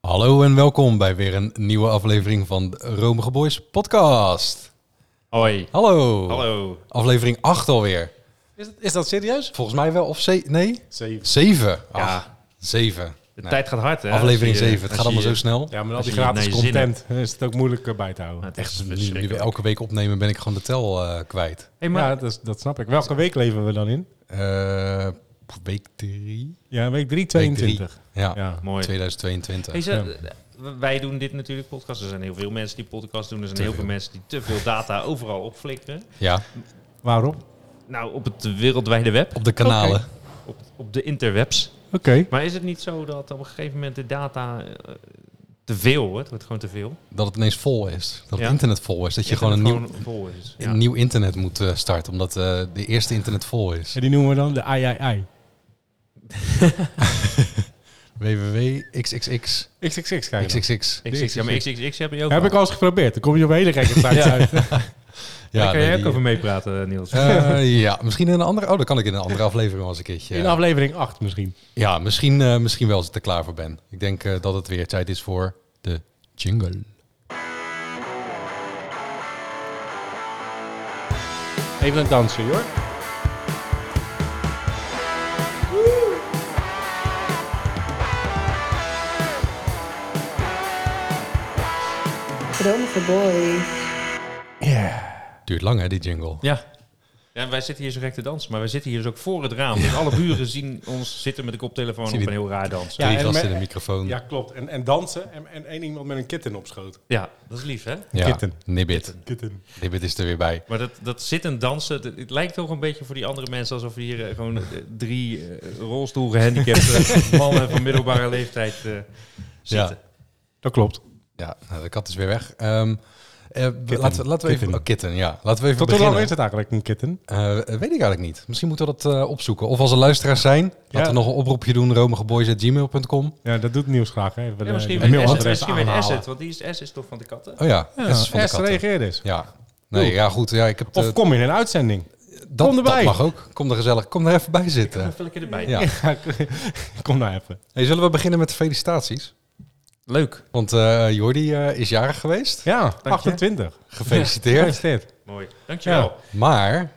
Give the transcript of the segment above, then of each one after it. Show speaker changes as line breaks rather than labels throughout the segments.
Hallo en welkom bij weer een nieuwe aflevering van de Romige Boys podcast.
Hoi.
Hallo.
Hallo.
Aflevering 8 alweer.
Is dat, is dat serieus?
Volgens mij wel, of ze nee?
Zeven.
7.
Ja.
7.
De tijd gaat hard, hè?
Nou, Aflevering
Als je-
7. Het
als
gaat allemaal
je-
zo snel.
Ja, maar al
Als
die
je
gratis
niet naar je zin
content is het ook moeilijk eh, bij te houden.
Het is
Dus Nu, nu we
verschrikkelijk.
elke week opnemen ben ik gewoon de tel eh, kwijt.
Hey, maar
Ja, dat, is- dat snap ik. Welke week leven we dan in?
Eh, week 3?
Ja, week 3, 22.
Ah.
Ja,
Ja.
mooi.
2022.
Hey, ze- eh, wij doen dit natuurlijk, podcast. Er zijn heel veel mensen die podcast doen. Er zijn
Te
heel veel
veel.
mensen die te veel data overal opflikkeren.
Ja,
Waarom?
Nou, op het wereldwijde web,
op de kanalen.
op, op de interwebs.
Oké.
Maar is het niet zo dat op een gegeven moment de data eh, te veel wordt? Het wordt gewoon te veel.
Dat het ineens vol is. Dat
Ja.
het internet vol is. Dat je gewoon een nieuw,
vol is. Ja.
een nieuw internet moet eh, starten. Omdat eh, de eerste internet vol is.
En die noemen we dan de III.
www.xxx.
XXX krijg je dan.
XXX.
XXX, ja, maar XXX heb je ook.
Heb
al.
ik al eens geprobeerd. Dan kom je op hele gekke sites uit.
Daar kan
nee,
jij ook
die-
over meepraten, Niels.
Eh, ja, misschien in een andere. Oh, dan kan ik in een andere aflevering wel eens een keertje.
In aflevering 8 misschien.
Ja, misschien, eh, misschien wel als ik er klaar voor ben. Ik denk eh, dat het weer tijd is voor de jingle.
Even een dansje, hoor.
Romige boys.
Duurt lang, hè, die jingle?
Ja. Ja, wij zitten hier zo gek te dansen, maar wij zitten hier dus ook voor het raam. Dus alle buren zien ons zitten met de koptelefoon op
Zie
een
die-
heel raar dansen.
Ja,
Drie
en
gasten
me-
in de microfoon.
Ja,
Ja,
klopt. En, en dansen. En, en één iemand met een kitten op schoot.
Ja, dat is lief, hè?
kitten.
Nibbit.
Kitten.
Nibbit is er weer bij.
Maar dat, dat zitten dansen, het, het lijkt toch een beetje voor die andere mensen alsof hier eh, gewoon eh, drie eh, rolstoelgehandicapte mannen van middelbare leeftijd eh, zitten.
Dat klopt.
Ja, nou, de kat is weer weg. Ehm, eh, laten, we- laten we even.
Kitten.
Oh, kitten, ja. Laten we even.
Tot hoe
beginnen.
lang is het eigenlijk, een kitten?
Eh, weet ik eigenlijk niet. Misschien moeten we dat eh, opzoeken. Of als er luisteraars zijn, laten we nog een oproepje doen: romigeboys.gmail.com.
Ja, dat doet nieuws graag. Hè.
Ja,
Even,
misschien
eh,
weer
mailadres
asset, misschien weer
aanhalen.
asset, want die is, S is toch van de katten?
Oh ja,
Ja,
S is van de
S E
katten.
reageer eens.
Ja. Nee, ja goed. Ja, ik heb de-
Of kom in een uitzending.
dat,
kom erbij.
dat mag ook. Kom er gezellig. Kom er even bij zitten.
Even lekker erbij.
Ja.
Kom nou even.
Hey, zullen we beginnen met de felicitaties?
Leuk.
Want eh, Jordi eh, is jarig geweest.
Ja, 28.
Gefeliciteerd.
Gefeliciteerd.
Mooi. Dankjewel.
Ja.
Maar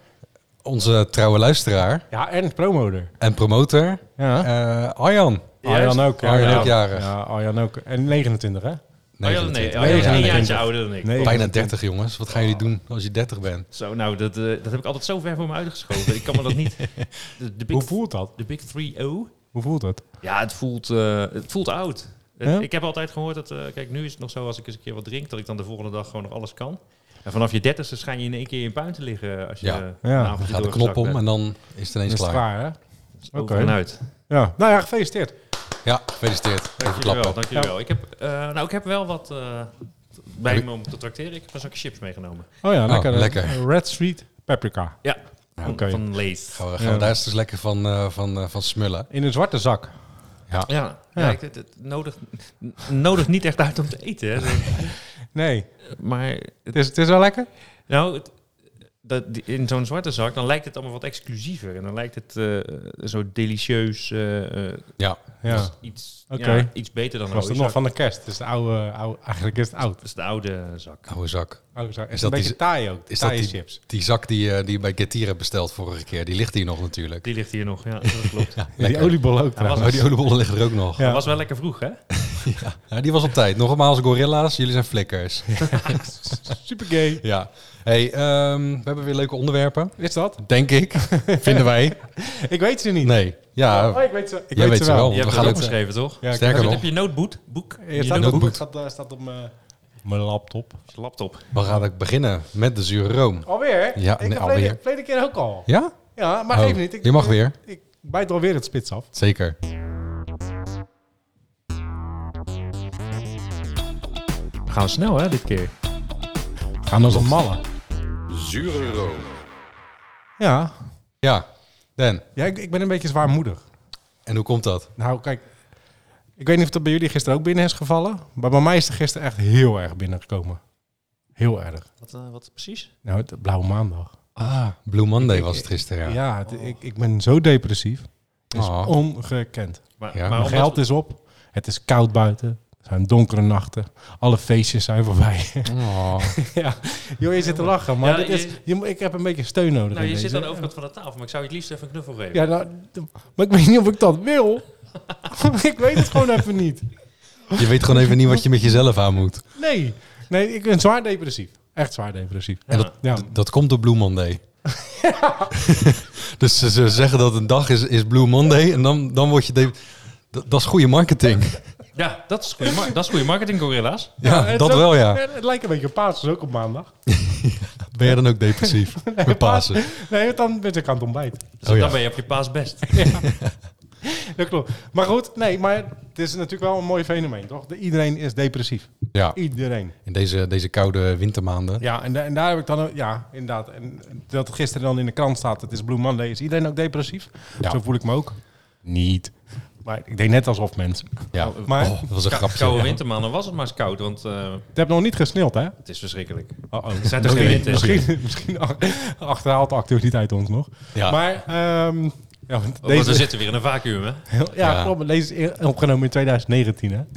onze trouwe luisteraar
Ja, en promotor.
en promotor,
Ja.
eh, Arjan.
Arjan ook. hè?
Arjan
Ja.
ook jarig.
Ja, Arjan ook. En 29, hè?
Oh, ja, nee,
29.
oh, ja, een
29.
jaartje ouder dan ik.
Nee.
Bijna 30 jongens. Wat gaan jullie doen als je 30 bent?
Zo, nou, dat, eh, dat heb ik altijd zo ver voor me uitgeschoven. ik kan me dat niet... De, de
Hoe
big,
voelt dat?
de big 3-0?
Hoe voelt dat?
Ja, het voelt, eh, het voelt oud. Het-
Ja?
Ik heb altijd gehoord dat... eh, kijk, nu is het nog zo, als ik eens een keer wat drink... dat ik dan de volgende dag gewoon nog alles kan. En vanaf je dertigste schijn je in één keer in puin te liggen... als je
Ja.
eh, een
Ja.
Dan
avondje
gaat de
doorgezakt
knop om
bent.
en dan is het ineens
Dat is
klaar.
klaar, hè?
Over
Oké.
en uit.
Ja. Nou ja, gefeliciteerd.
Ja, gefeliciteerd. Even
Dankjewel,
klappen.
dankjewel. Ik, heb, eh, nou, ik heb wel wat eh, bij me om te tracteren. Ik heb een zakje chips meegenomen.
Oh ja, lekker.
lekker.
Red Street Paprika.
Ja, van,
Oké.
van Lees.
Gaan we, gaan we
Ja.
daar eens dus lekker van, eh, van, eh, van smullen.
In een zwarte zak.
Ja, ja.
Ja.
ik- het, het nodigt, n- nodigt niet echt uit om te eten. Hè.
Nee.
Maar het-
Het is, het is wel lekker?
nou, het- dat, die- in zo'n zwarte zak, dan lijkt het allemaal wat exclusiever. En dan lijkt het eh, zo delicieus, eh, eh,
Ja,
Ja.
iets,
Oké.
ja, iets beter dan een
Het
Oh,
was
oude
het
zak.
nog van de kerst. Het is de oude, oude, eigenlijk is het oud.
Dat is de oude zak.
oude zak.
Oude zak. Het
Is
is
dat
een
die
beetje
z-
taai ook.
is dat
Taaie chips.
Die zak die, eh, die je bij Getir hebt besteld vorige keer, die ligt hier nog natuurlijk.
Die ligt hier nog, ja, dat klopt.
Ja,
Die
lekker.
oliebollen ook
was-
trouwens.
Oh, die oliebollen liggen er ook nog.
Dat
Ja.
was wel lekker vroeg, hè?
Ja, die was op tijd. Nogmaals, gorilla's, jullie zijn flikkers.
Super gay.
Ja. Hey, ehm, we hebben weer leuke onderwerpen.
Is dat?
Denk ik. Vinden wij.
Ik weet ze niet.
Nee. Ja,
Oh, ik weet ze, ik
Nou, Jij
weet ze wel.
want
Je hebt
gaan
het eh, ook
het-
geschreven, toch?
Ja, ik-
sterker
Heb
nog,
je notebook? Boek?
Hier
je
staat
notebook?
op,
notebook.
het staat, eh, staat op mijn, mijn laptop.
Je laptop.
we gaan ook beginnen met de zure room.
Alweer?
Ja,
ik
nee,
heb
alweer.
Verleden, verleden keer ook al.
Ja?
Ja, maar
Oh,
even niet. Ik,
je mag
ik-
weer.
Ik, bijt alweer het spits af.
Zeker.
We gaan snel, hè, dit keer.
Gaan als een malle.
Zure room.
Ja,
Ja. Dan,
ja ik, ik ben een beetje zwaarmoedig.
en hoe komt dat?
Nou, kijk. Ik weet niet of dat bij jullie gisteren ook binnen is gevallen. Maar bij mij is het gisteren echt heel erg binnengekomen. Heel erg.
Wat, eh, wat precies?
Nou, het blauwe maandag.
Ah, Blue Monday was het gisteren,
Ja,
ja.
het- ik, ik ben zo depressief. Het is
Oh.
ongekend.
Maar,
Ja,
maar
Mijn
omdat-
geld is op. Het is koud buiten. zijn donkere nachten. Alle feestjes zijn voorbij.
Oh.
ja, joh, je zit te lachen, maar
Ja,
dit is,
je-
je, moet- ik heb een beetje steun nodig.
Nou,
in
je zit
deze.
aan de overkant van de tafel, maar ik zou je het liefst even een knuffel geven.
Ja, nou, d- maar ik weet niet of ik dat wil. ik weet het gewoon even niet.
Je weet gewoon even niet wat je met jezelf aan moet.
Nee, nee, ik ben zwaar depressief. Echt zwaar depressief.
En dat,
Ja.
d- dat komt door Blue Monday. dus ze, ze zeggen dat een dag is, is Blue Monday en dan, dan word je... de- dat, dat is goede marketing.
Ja, dat is goede mar- dat is goede marketing, gorilla's.
Ja,
het is
dat
ook-
wel ja.
Het lijkt een beetje op Pasen, ook op maandag.
Ben jij dan ook depressief? Met Pasen.
Nee, want dan ben ik aan het ontbijt.
Dus
Oh ja.
dan ben je op je paas best.
Dat klopt. Maar goed, nee, maar het is natuurlijk wel een mooi fenomeen, toch? De- Iedereen is depressief.
Ja,
Iedereen.
in deze, deze koude wintermaanden.
Ja, en, da- en daar heb ik dan, een- ja, inderdaad. En dat gisteren dan in de krant staat, het is Blue Monday. Is iedereen ook depressief?
Ja.
Zo voel ik me ook. Niet. Maar ik deed net alsof mensen.
Ja.
Maar
Oh, dat was een grapje.
Koude
Ja.
winterman, dan was het maar eens koud, want eh,
het heeft nog niet gesneeuwd, hè?
het is verschrikkelijk.
Oh, oh.
Er zijn toch geen winters hier?
misschien, misschien ach- achterhaalt de actualiteit ons nog.
Ja.
Maar ehm, ja,
Oh,
want
want we
deze,
zitten weer in een vacuüm, hè?
ja,
Ja.
klopt, maar deze is opgenomen in 2019, hè?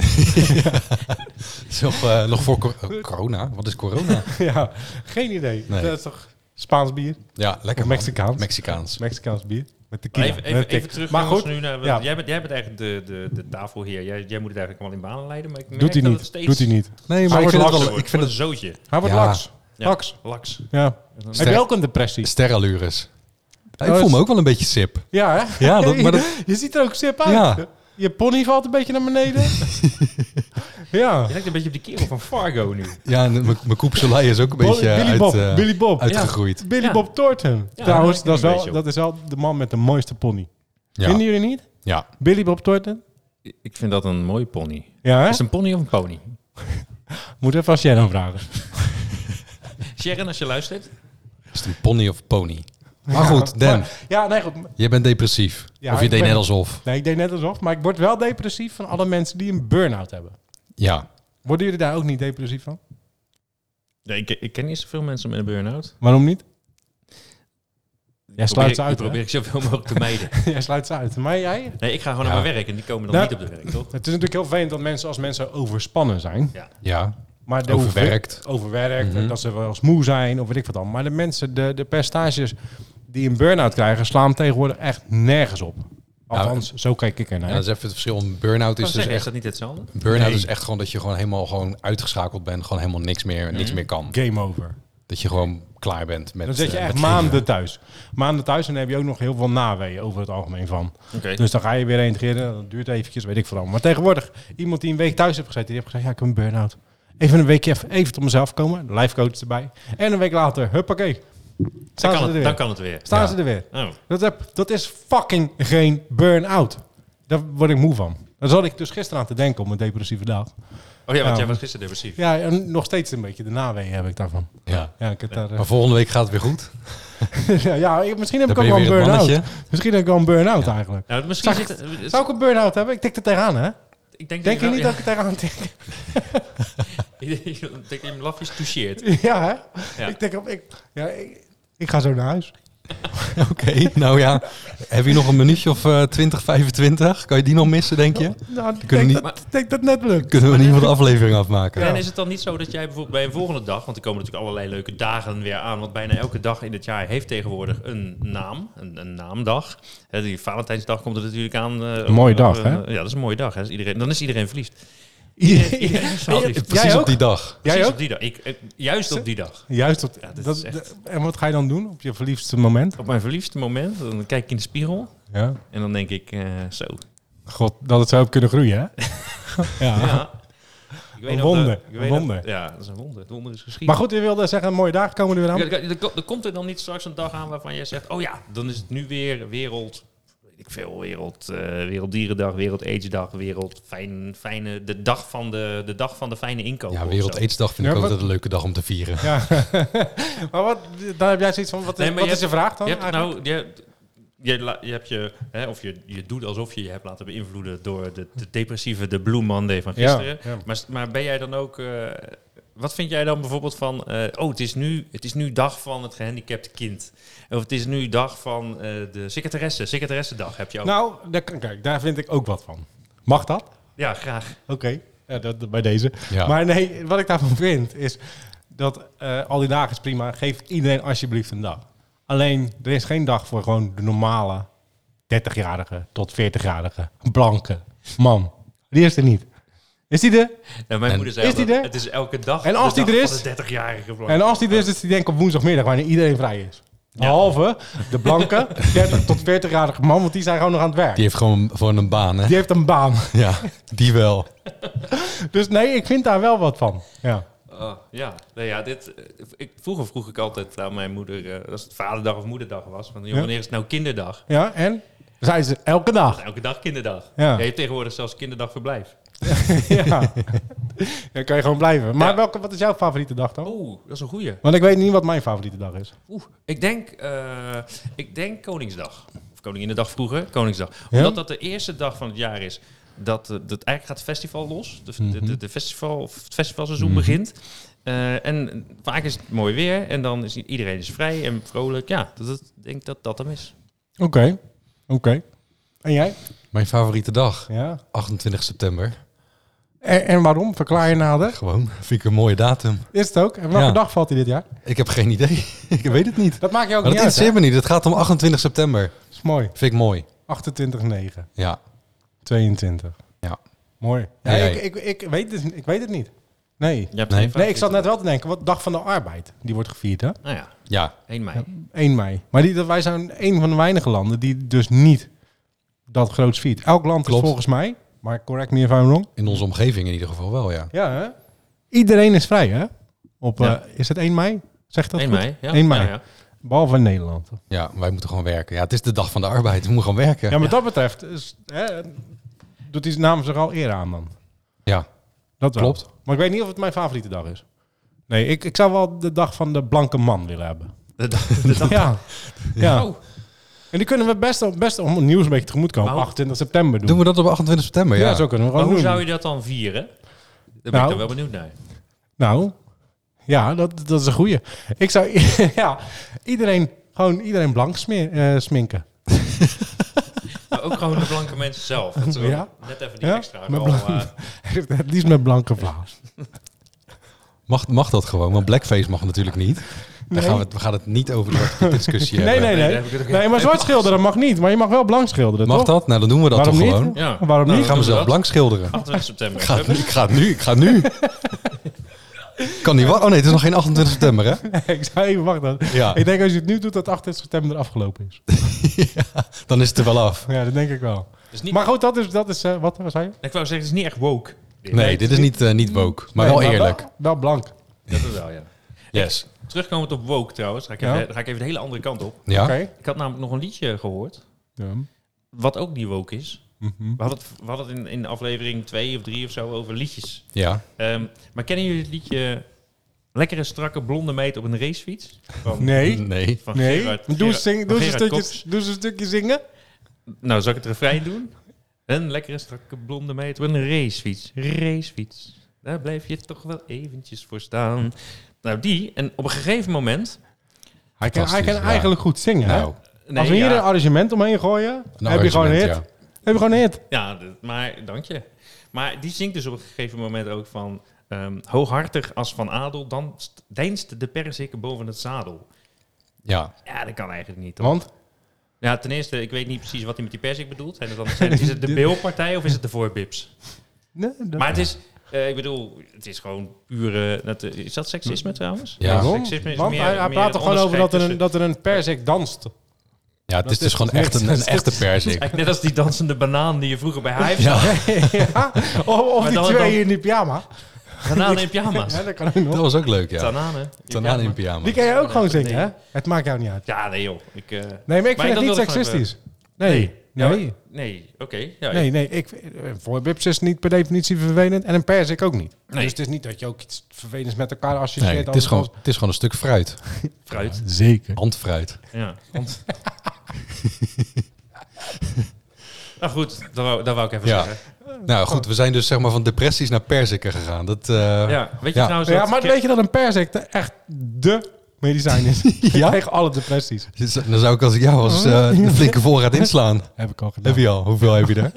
Is nog, eh, nog voor cor- oh, corona? Wat is corona?
ja, geen idee.
Nee.
Dat is toch Spaans bier?
Ja, lekker
Of
man.
Mexicaans?
Mexicaans.
Mexicaans bier. Met
Maar
tequila.
even,
Met
even,
tik.
even terug
Maar
jongens,
goed,
nu naar, want
ja.
jij, bent, jij bent eigenlijk de, de, de tafelheer. Jij, jij moet het eigenlijk allemaal in banen leiden, maar ik merk
doet hij
dat het
niet.
steeds...
Doet hij niet.
Nee, maar ik
Maar wordt
vind, het
lakker,
wel, ik vind
het
het
een zootje.
Hij wordt
Ja.
laks.
Ja,
Laks.
Laks.
Ja. Heb
Sterk.
je ook een depressie?
sterallures. Ja, ik
Oh,
voel
is-
me ook wel een beetje sip.
Ja, hè?
Ja, dat- maar dat-
Je ziet er ook sip uit.
Ja.
Je pony valt een beetje naar beneden. ja.
Je lijkt een beetje op die kerel van Fargo nu.
Ja, en mijn mijn koep Soleil is ook een beetje
Billy
uit,
Bob.
eh,
Billy Bob.
uitgegroeid.
Billy
Ja.
Bob Thornton.
daar
Trouwens,
lijkt
dat is,
hij een beetje
wel,
op.
dat is wel de man met de mooiste pony.
Ja.
Vinden jullie niet?
ja.
Billy Bob Thornton?
Ik vind dat een mooie pony.
Ja, hè?
Is het een pony of een pony?
Moet even aan Sharon vragen.
Sharon, als je luistert.
Is het een pony of pony? Maar goed, Dan,
Maar- ja, nee, goed.
jij bent depressief.
Ja,
of je
ik
deed
ben-
net alsof.
Nee, ik deed net alsof. Maar ik word wel depressief van alle mensen die een burn-out hebben.
Ja.
Worden jullie daar ook niet depressief van?
Nee, ik, ik ken niet zoveel mensen met een burn-out.
Waarom niet? Jij
Probeer
sluit
ik-
ze uit,
die probeer ik zoveel mogelijk te mijden.
hè? Jij sluit ze uit. Maar jij?
Nee, ik ga gewoon
Ja.
naar mijn werk en die komen dan
Nou-
niet op de werk, toch?
Het is natuurlijk heel vervelend dat mensen als mensen overspannen zijn.
Ja.
Maar de
Overwerkt.
hoeveel- Overwerkt.
Mhm.
Dat ze wel eens moe zijn of weet ik wat dan. Maar de mensen, de, de percentages die een burn-out krijgen, slaan tegenwoordig echt nergens op. Althans, zo kijk ik ernaar.
Nou, ja. Dat is even het verschil. Een burn-out
Kan
is dus
zeggen, is
echt...
dat niet hetzelfde?
Een burn-out
Nee.
is echt gewoon dat je gewoon helemaal gewoon uitgeschakeld bent. Gewoon helemaal niks meer, niks meer kan.
Game over.
Dat je gewoon klaar bent met...
Mhm. Dan zit je
eh,
echt
met leven.
maanden thuis. Maanden thuis en dan heb je ook nog heel veel naweeën over het algemeen van.
Oké.
Dus dan ga je weer reageren. Dat duurt eventjes, weet ik veel. allemaal. Maar tegenwoordig, iemand die een week thuis heeft gezeten, die heeft gezegd, ja, ik heb een burn-out. Even een weekje even, even tot mezelf komen. De lifecoach is erbij. En een week later, huppakee.
Dan
Staan
kan,
ze
het,
er
dan
weer.
kan het weer.
Staan
Ja.
ze er weer.
Oh.
Dat, heb, dat is fucking geen burn-out. Daar word ik moe van. Daar zat ik dus gisteren aan te denken op mijn depressieve dag.
Oh ja, want
Ja.
jij was gisteren depressief.
Ja, en nog steeds een beetje de naweeën heb ik daarvan.
Ja.
Ja, ik heb daar... eh,
Maar volgende week gaat het weer goed.
ja, ja, ik- misschien heb
Dan
ik
ben
ook
je
wel een
weer het
burn-out.
mannetje.
Misschien heb ik wel een burn-out eigenlijk.
Nou, misschien
Zag-
zit het-
Zou ik een burn-out hebben? Ik tik er tegenaan, hè?
Ik denk,
Denk je
dat
niet
je-
dat ik er tegenaan tik?
Ik denk dat je hem lafjes toucheert.
Ja, hè?
Ja.
Ik tik op... Ik, ja, ik, ik ga zo naar huis.
Oké, nou ja. Heb je nog een minuutje of eh 20, 25? Kan je die nog missen, denk je?
Nou, ik
kunnen
denk,
niet-
dat, ik denk dat net lukt.
Kunnen we in ieder geval de aflevering afmaken?
En is het dan niet zo dat jij bijvoorbeeld bij een volgende dag, want er komen natuurlijk allerlei leuke dagen weer aan, want bijna elke dag in het jaar heeft tegenwoordig een naam, een, een naamdag. Hè, die Valentijnsdag komt er natuurlijk aan. eh,
mooie
op-
dag,
eh,
hè?
Ja, dat is een mooie dag. Hè. Is iedereen, dan is iedereen verliefd.
Iedereen-
is wel verliefd.
Jij
Precies
ook?
op die dag.
Jij
Precies
ook?
op die dag. Ik, eh, juist op die dag.
Juist op...
Ja, dit
dat,
is echt-
dat- en wat ga je dan doen op je verliefdste moment?
Op mijn verliefste moment, dan kijk ik in de spiegel
Ja.
en dan denk ik eh, zo.
God, dat het zou kunnen groeien, hè? ja.
Ja. Ik
Een
nog dat-
wonder,
ik
een
weet dat-
wonder.
ja, dat is een wonder. Het wonder is geschieden.
Maar goed, je wilde zeggen, mooie dagen komen er weer
Ja,
aan.
er- er ko- er komt er dan niet straks een dag aan waarvan jij zegt: Oh ja, dan is het nu weer wereld. Weet ik veel, wereld, eh, Werelddierendag, Wereld Aids Dag, Wereld fijn, fijne, de, dag van de, de dag van de fijne inkoop.
Ja, Wereld
Aids.
Aidsdag vind
Ja,
ik
wat-
altijd een leuke dag om te vieren.
Ja. maar wat, daar heb jij zoiets van, wat, is-
Nee, maar
wat
je
is je vraag
Je
dan?
hebt
eigenlijk?
nou, je, hebt- je, la- je hebt je, hè, of je, je doet alsof je je hebt laten beïnvloeden door de, de depressieve, de Blue Monday van
Ja,
nou gisteren.
ja.
Maar, s- maar ben jij dan ook, eh, wat vind jij dan bijvoorbeeld van, eh, oh het is, nu, het is nu dag van het gehandicapte kind. Of het is nu dag van eh, de secretaresse, secretaressendag heb je ook.
Nou, daar, kan- kijk, daar vind ik ook wat van. Mag dat?
Ja, graag.
Oké. Ja, dat, dat bij deze.
Ja.
Maar nee, wat ik daarvan vind is dat eh, al die dagen is prima. Geef iedereen alsjeblieft een dag. Alleen, er is geen dag voor gewoon de normale 30-jarige tot 40-jarige blanke man. Die is er niet. Is die er?
Nou, mijn
En-
moeder zei
Is die
altijd,
er?
het is elke dag
En
de
als die
dag
er
van
is?
de 30-jarige vlag.
En als die er is, is die denk ik op woensdagmiddag, wanneer iedereen vrij is. Behalve de blanke 30 tot 40-jarige man, want die zijn gewoon nog aan het werk.
Die heeft gewoon, gewoon een baan, hè?
Die heeft een baan.
Ja, die wel.
Dus nee, ik vind daar wel wat van. Ja.
Ah, ja, nou ja dit, eh, ik, vroeger vroeg ik altijd aan mijn moeder, eh, als het vaderdag of moederdag was, van, joh,
Ja.
wanneer is het nou kinderdag?
Ja, en? Zijn ze elke dag.
Elke dag kinderdag.
Ja.
Ja. Je hebt tegenwoordig zelfs kinderdagverblijf.
ja. Dan kan je gewoon blijven. Maar
Ja.
welke, wat is jouw favoriete dag dan?
Oeh, Oh, dat is een goeie.
Want ik weet niet wat mijn favoriete dag is.
Oeh, ik denk, eh, ik denk Koningsdag. Of Koninginnedag vroeger, Koningsdag.
Ja?
Omdat dat de eerste dag van het jaar is. Dat, eh, dat eigenlijk gaat het festival los. De, de,
Mhm.
de, de festival, of het festivalseizoen begint. Eh, en vaak is het mooi weer. En dan is i- iedereen is vrij en vrolijk. Ja, dat, dat- ik denk dat dat hem is.
Oké. Oké. En jij?
Mijn favoriete dag,
Ja.
28 september.
En, en waarom? Verklaar je nader.
Gewoon, vind ik een mooie datum.
Is het ook? En welke
Ja.
dag valt hij dit jaar?
Ik heb geen idee. ik weet het niet.
Dat maakt je ook
Maar dat
niet uit. hè?
interesseert me niet. Het gaat om 28 september.
Dat is mooi.
Vind ik mooi.
28, 9,
Ja.
22.
Ja.
Mooi. Ja,
En jij?
ik, ik, ik, weet het, ik weet het niet. Nee.
Je hebt
Nee.
geen
Nee, ik
favoriete
zat net wel te denken. Wat dag van de arbeid? Die wordt gevierd, hè?
dag. Nou ja,
Ja.
1 mei.
1 mei. Maar die, dat wij zijn een van de weinige landen die dus niet dat groots viert. Elk land
Klopt.
is volgens mij, maar correct me if I'm wrong.
In onze omgeving in ieder geval wel, ja.
Ja, hè? Iedereen is vrij, hè? Op, eh,
Ja.
is het 1 mei? Zegt dat
1
goed?
mei. Ja.
1 mei.
Ja, ja.
Behalve in Nederland. Ja,
Ja, wij moeten gewoon werken. Ja, het is de dag van de arbeid. We moeten gewoon werken. Ja.
maar dat betreft is, hè, doet hij zijn naam zich al eer aan dan. Dat wel.
Klopt.
Maar ik weet niet of het mijn favoriete dag is. Nee, ik, ik zou wel de dag van de blanke man willen hebben.
De, dag- de dag-
Ja. ja.
Oh.
En die kunnen we best, best om het nieuws een beetje tegemoet komen.
Maar hoe-
28 september doen.
Doen we dat op 28 september?
ja.
Ja,
zo kunnen we
Maar
gewoon
hoe
doen.
zou je dat dan vieren? Daar ben
Nou.
ik dan wel benieuwd naar.
Nou, ja, dat, dat is een goeie. Ik zou ja, iedereen, gewoon iedereen blank smeer- eh, sminken.
Maar ook gewoon de blanke mensen zelf. Dat ze
Ja?
Net even die
Ja?
extra
Met
rol,
blank-
eh,
Het liefst met blanke vlaas.
Mag, mag dat gewoon? Want blackface mag natuurlijk niet. Dan
Nee.
gaan we, het- we gaan het niet over de Zwarte Piet discussie
Nee,
hebben.
nee,
daar
nee.
heb ik het ook
Nee, maar zwart schilderen mag niet. Maar je mag wel blank schilderen,
Mag
toch?
dat? Nou, dan doen we dat
Waarom
toch
niet?
gewoon.
Ja.
Waarom
Nou,
Ik
niet?
ga
doen we
mezelf
dat.
blank schilderen.
28 september.
Ik ga, het nu,
Hup.
ik ga het nu, ik ga het nu. kan niet wat? Oh nee, het is nog geen 28 september, hè?
ik zou even wachten.
Ja.
Ik denk als je het nu doet, dat 28 september afgelopen is.
Dan is het er wel af.
Ja, dat denk ik wel.
Dus niet,
Maar goed, dat is, dat is eh, wat, wat zei je?
ik wou zeggen, het is niet echt woke. Dit.
Nee, dit is niet, eh, niet woke, maar
Nee,
wel eerlijk.
Wel, wel blank.
Dat is wel, ja.
Yes.
Terugkomend op woke trouwens, ga ik,
Ja.
even, dan ga ik even de hele andere kant op.
Ja?
Oké.
Ik had namelijk nog een liedje gehoord,
Ja.
wat ook niet woke is.
Mhm.
We hadden het, we hadden het in, in aflevering 2 of 3 of zo over liedjes.
Ja.
Ehm, maar kennen jullie het liedje Lekkere strakke blonde meid op een racefiets? Van,
Nee.
Nee.
van
Nee.
Gerard-
Doe eens
Gerard-
zing-
van
doe eens een
Gerard
stukje- doe eens een stukje zingen.
Nou, zal ik het refrein doen? Een lekkere strakke blonde meid op een racefiets. Racefiets. Daar blijf je toch wel eventjes voor staan. Nou, die. En op een gegeven moment...
Hij kan, hij kan
Fantastisch, ja.
eigenlijk goed zingen. hè?
Nou,
Nee,
Als we hier
ja,
een arrangement omheen gooien,
een
heb je gewoon een hit.
arrangement,
Heb je gewoon een hit.
ja, d- maar dank je. Maar die zingt dus op een gegeven moment ook van... ehm, hooghartig als van adel, dan st- deinst de perziken boven het zadel.
Ja.
Ja, dat kan eigenlijk niet, toch?
Want
Ja, ten eerste, ik weet niet precies wat hij met die perzik bedoelt. Zijn het dan, zijn- is het de beelpartij of is het de voorbips?
Nee, dat-
Maar het is, eh, ik bedoel, het is gewoon pure. dat, eh, is dat seksisme trouwens?
Ja.
Hm. Waarom?
Seksisme is
Want
meer-
hij, hij
meer
praat
het
toch gewoon over dat er, een,
onderscheid
dat er een persik danst.
Ja, het is
is
dus gewoon
toch
echt een,
niks?
een echte perzik.
Eigenlijk net als die dansende banaan die je vroeger bij Hive zag.
Ja,
ja. Of, of
Maar
die
dan-
twee
dan-
in die pyjama.
Bananen in pyjama's.
Ja, dat kan ook nog.
dat was ook leuk, ja.
Bananen.
Tanaan in
pyjama.
pyjama.
Die kan je ook gewoon
Nee.
zingen, hè? Het maakt jou niet uit.
Ja, nee joh. Ik, eh,
Nee, maar ik
Maar
vind
dat
het
wil
niet
ik gewoon
seksistisch. Nee.
ja,
Nee.
maar- nee, oké. ja,
Nee, nee, ik, eh, voorbips is niet per definitie vervelend en een persik ook niet.
Nee.
Dus het is niet dat je ook iets vervelends met elkaar associeert.
Nee, het is,
anders
gewoon, het is gewoon een stuk fruit.
Fruit.
dan- Zeker.
Handfruit.
Ja. want- nou goed, dat wou, dat wou ik even
Ja.
zeggen.
Nou goed, we zijn dus zeg maar van depressies naar perziken gegaan. Dat, eh,
Ja, weet je
Ja.
trouwens
Ja,
dat-
maar weet je dat een persik de- echt de medicijn is.
Ja?
ja? Tegen alle depressies.
Dus Dan zou ik als ik jou was eh, een flinke voorraad inslaan.
Heb ik al gedaan.
Heb je al? Hoeveel heb je er?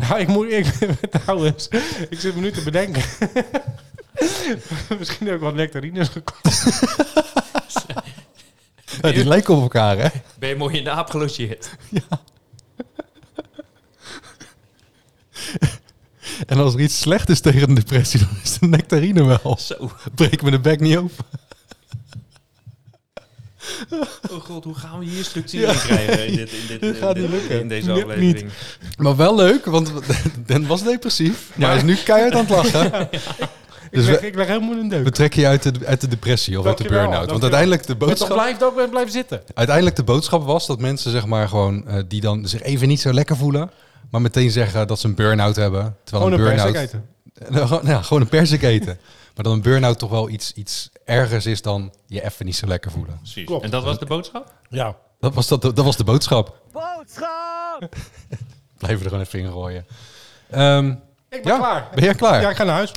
Ja, ik moet ik, trouwens, ik zit me nu te bedenken. Misschien heb ik wat nectarines gekocht.
Ja, die lijken op elkaar, hè?
Ben je mooi in de aap gelogeerd?
En als er iets slecht is tegen een depressie, dan is de nectarine wel.
Zo.
Breek me de bek niet open.
Oh god, hoe gaan we hier structuur in krijgen in, dit, in, dit, in,
gaat
dit-
niet lukken.
in deze
Lukt
aflevering?
Maar wel leuk, want Den was depressief. Maar hij is nu keihard aan het lachen.
Ik,
Dus
leg,
we-
ik leg helemaal in een
We
deuk.
trekken je uit de, uit de depressie of uit de
Dankjewel,
burn-out. Want
dankjewel.
uiteindelijk de,
Maar toch
boodschap,
blijft ook blijft zitten.
uiteindelijk de boodschap was dat mensen zeg maar, gewoon, eh, die dan zich even niet zo lekker voelen... maar meteen zeggen dat ze een burn-out hebben. Terwijl
Gewoon
een
een persik
burn-out...
eten.
Nou, gewoon- nou, gewoon een persik eten. maar dan een burn-out toch wel iets, iets ergers is dan je even niet zo lekker voelen.
Precies.
Klopt.
En dat was de boodschap?
Ja.
Dat was, dat, dat was de boodschap.
Boodschap!
Blijven er gewoon even in gooien. Ehm,
Ik ben
ja,
klaar.
Ben jij klaar?
Ja, ik ga naar huis.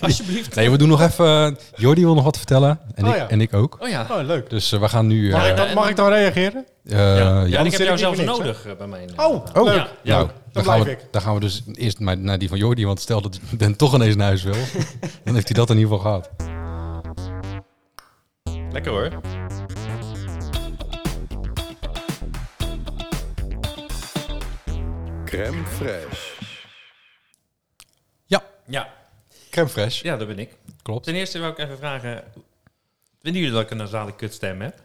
Alsjeblieft.
Nee, we doen nog even... eh, Jordi wil nog wat vertellen. En,
Oh
ik,
ja.
en ik ook.
Oh ja.
Oh, leuk.
Dus eh, we gaan nu... eh,
Mag, ik
eh,
dan, mag ik dan reageren?
ja. ja,
ja.
ik heb
zit ik
jou
hier
zelfs
niks, hè?
nodig eh, bij mij. eh,
Oh,
Oh,
leuk.
ja.
Nou, dan,
dan
gaan we,
blijf ik.
dan gaan we dus eerst maar naar die van Jordi. Want stel dat Den toch ineens naar huis wil, dan heeft hij dat in ieder geval gehad.
Lekker hoor.
Crème fraîche.
Ja,
Ja,
crème fraîche.
ja, dat ben ik.
Klopt.
Ten eerste wil ik even vragen... Vinden jullie dat ik een nasale kutstem heb?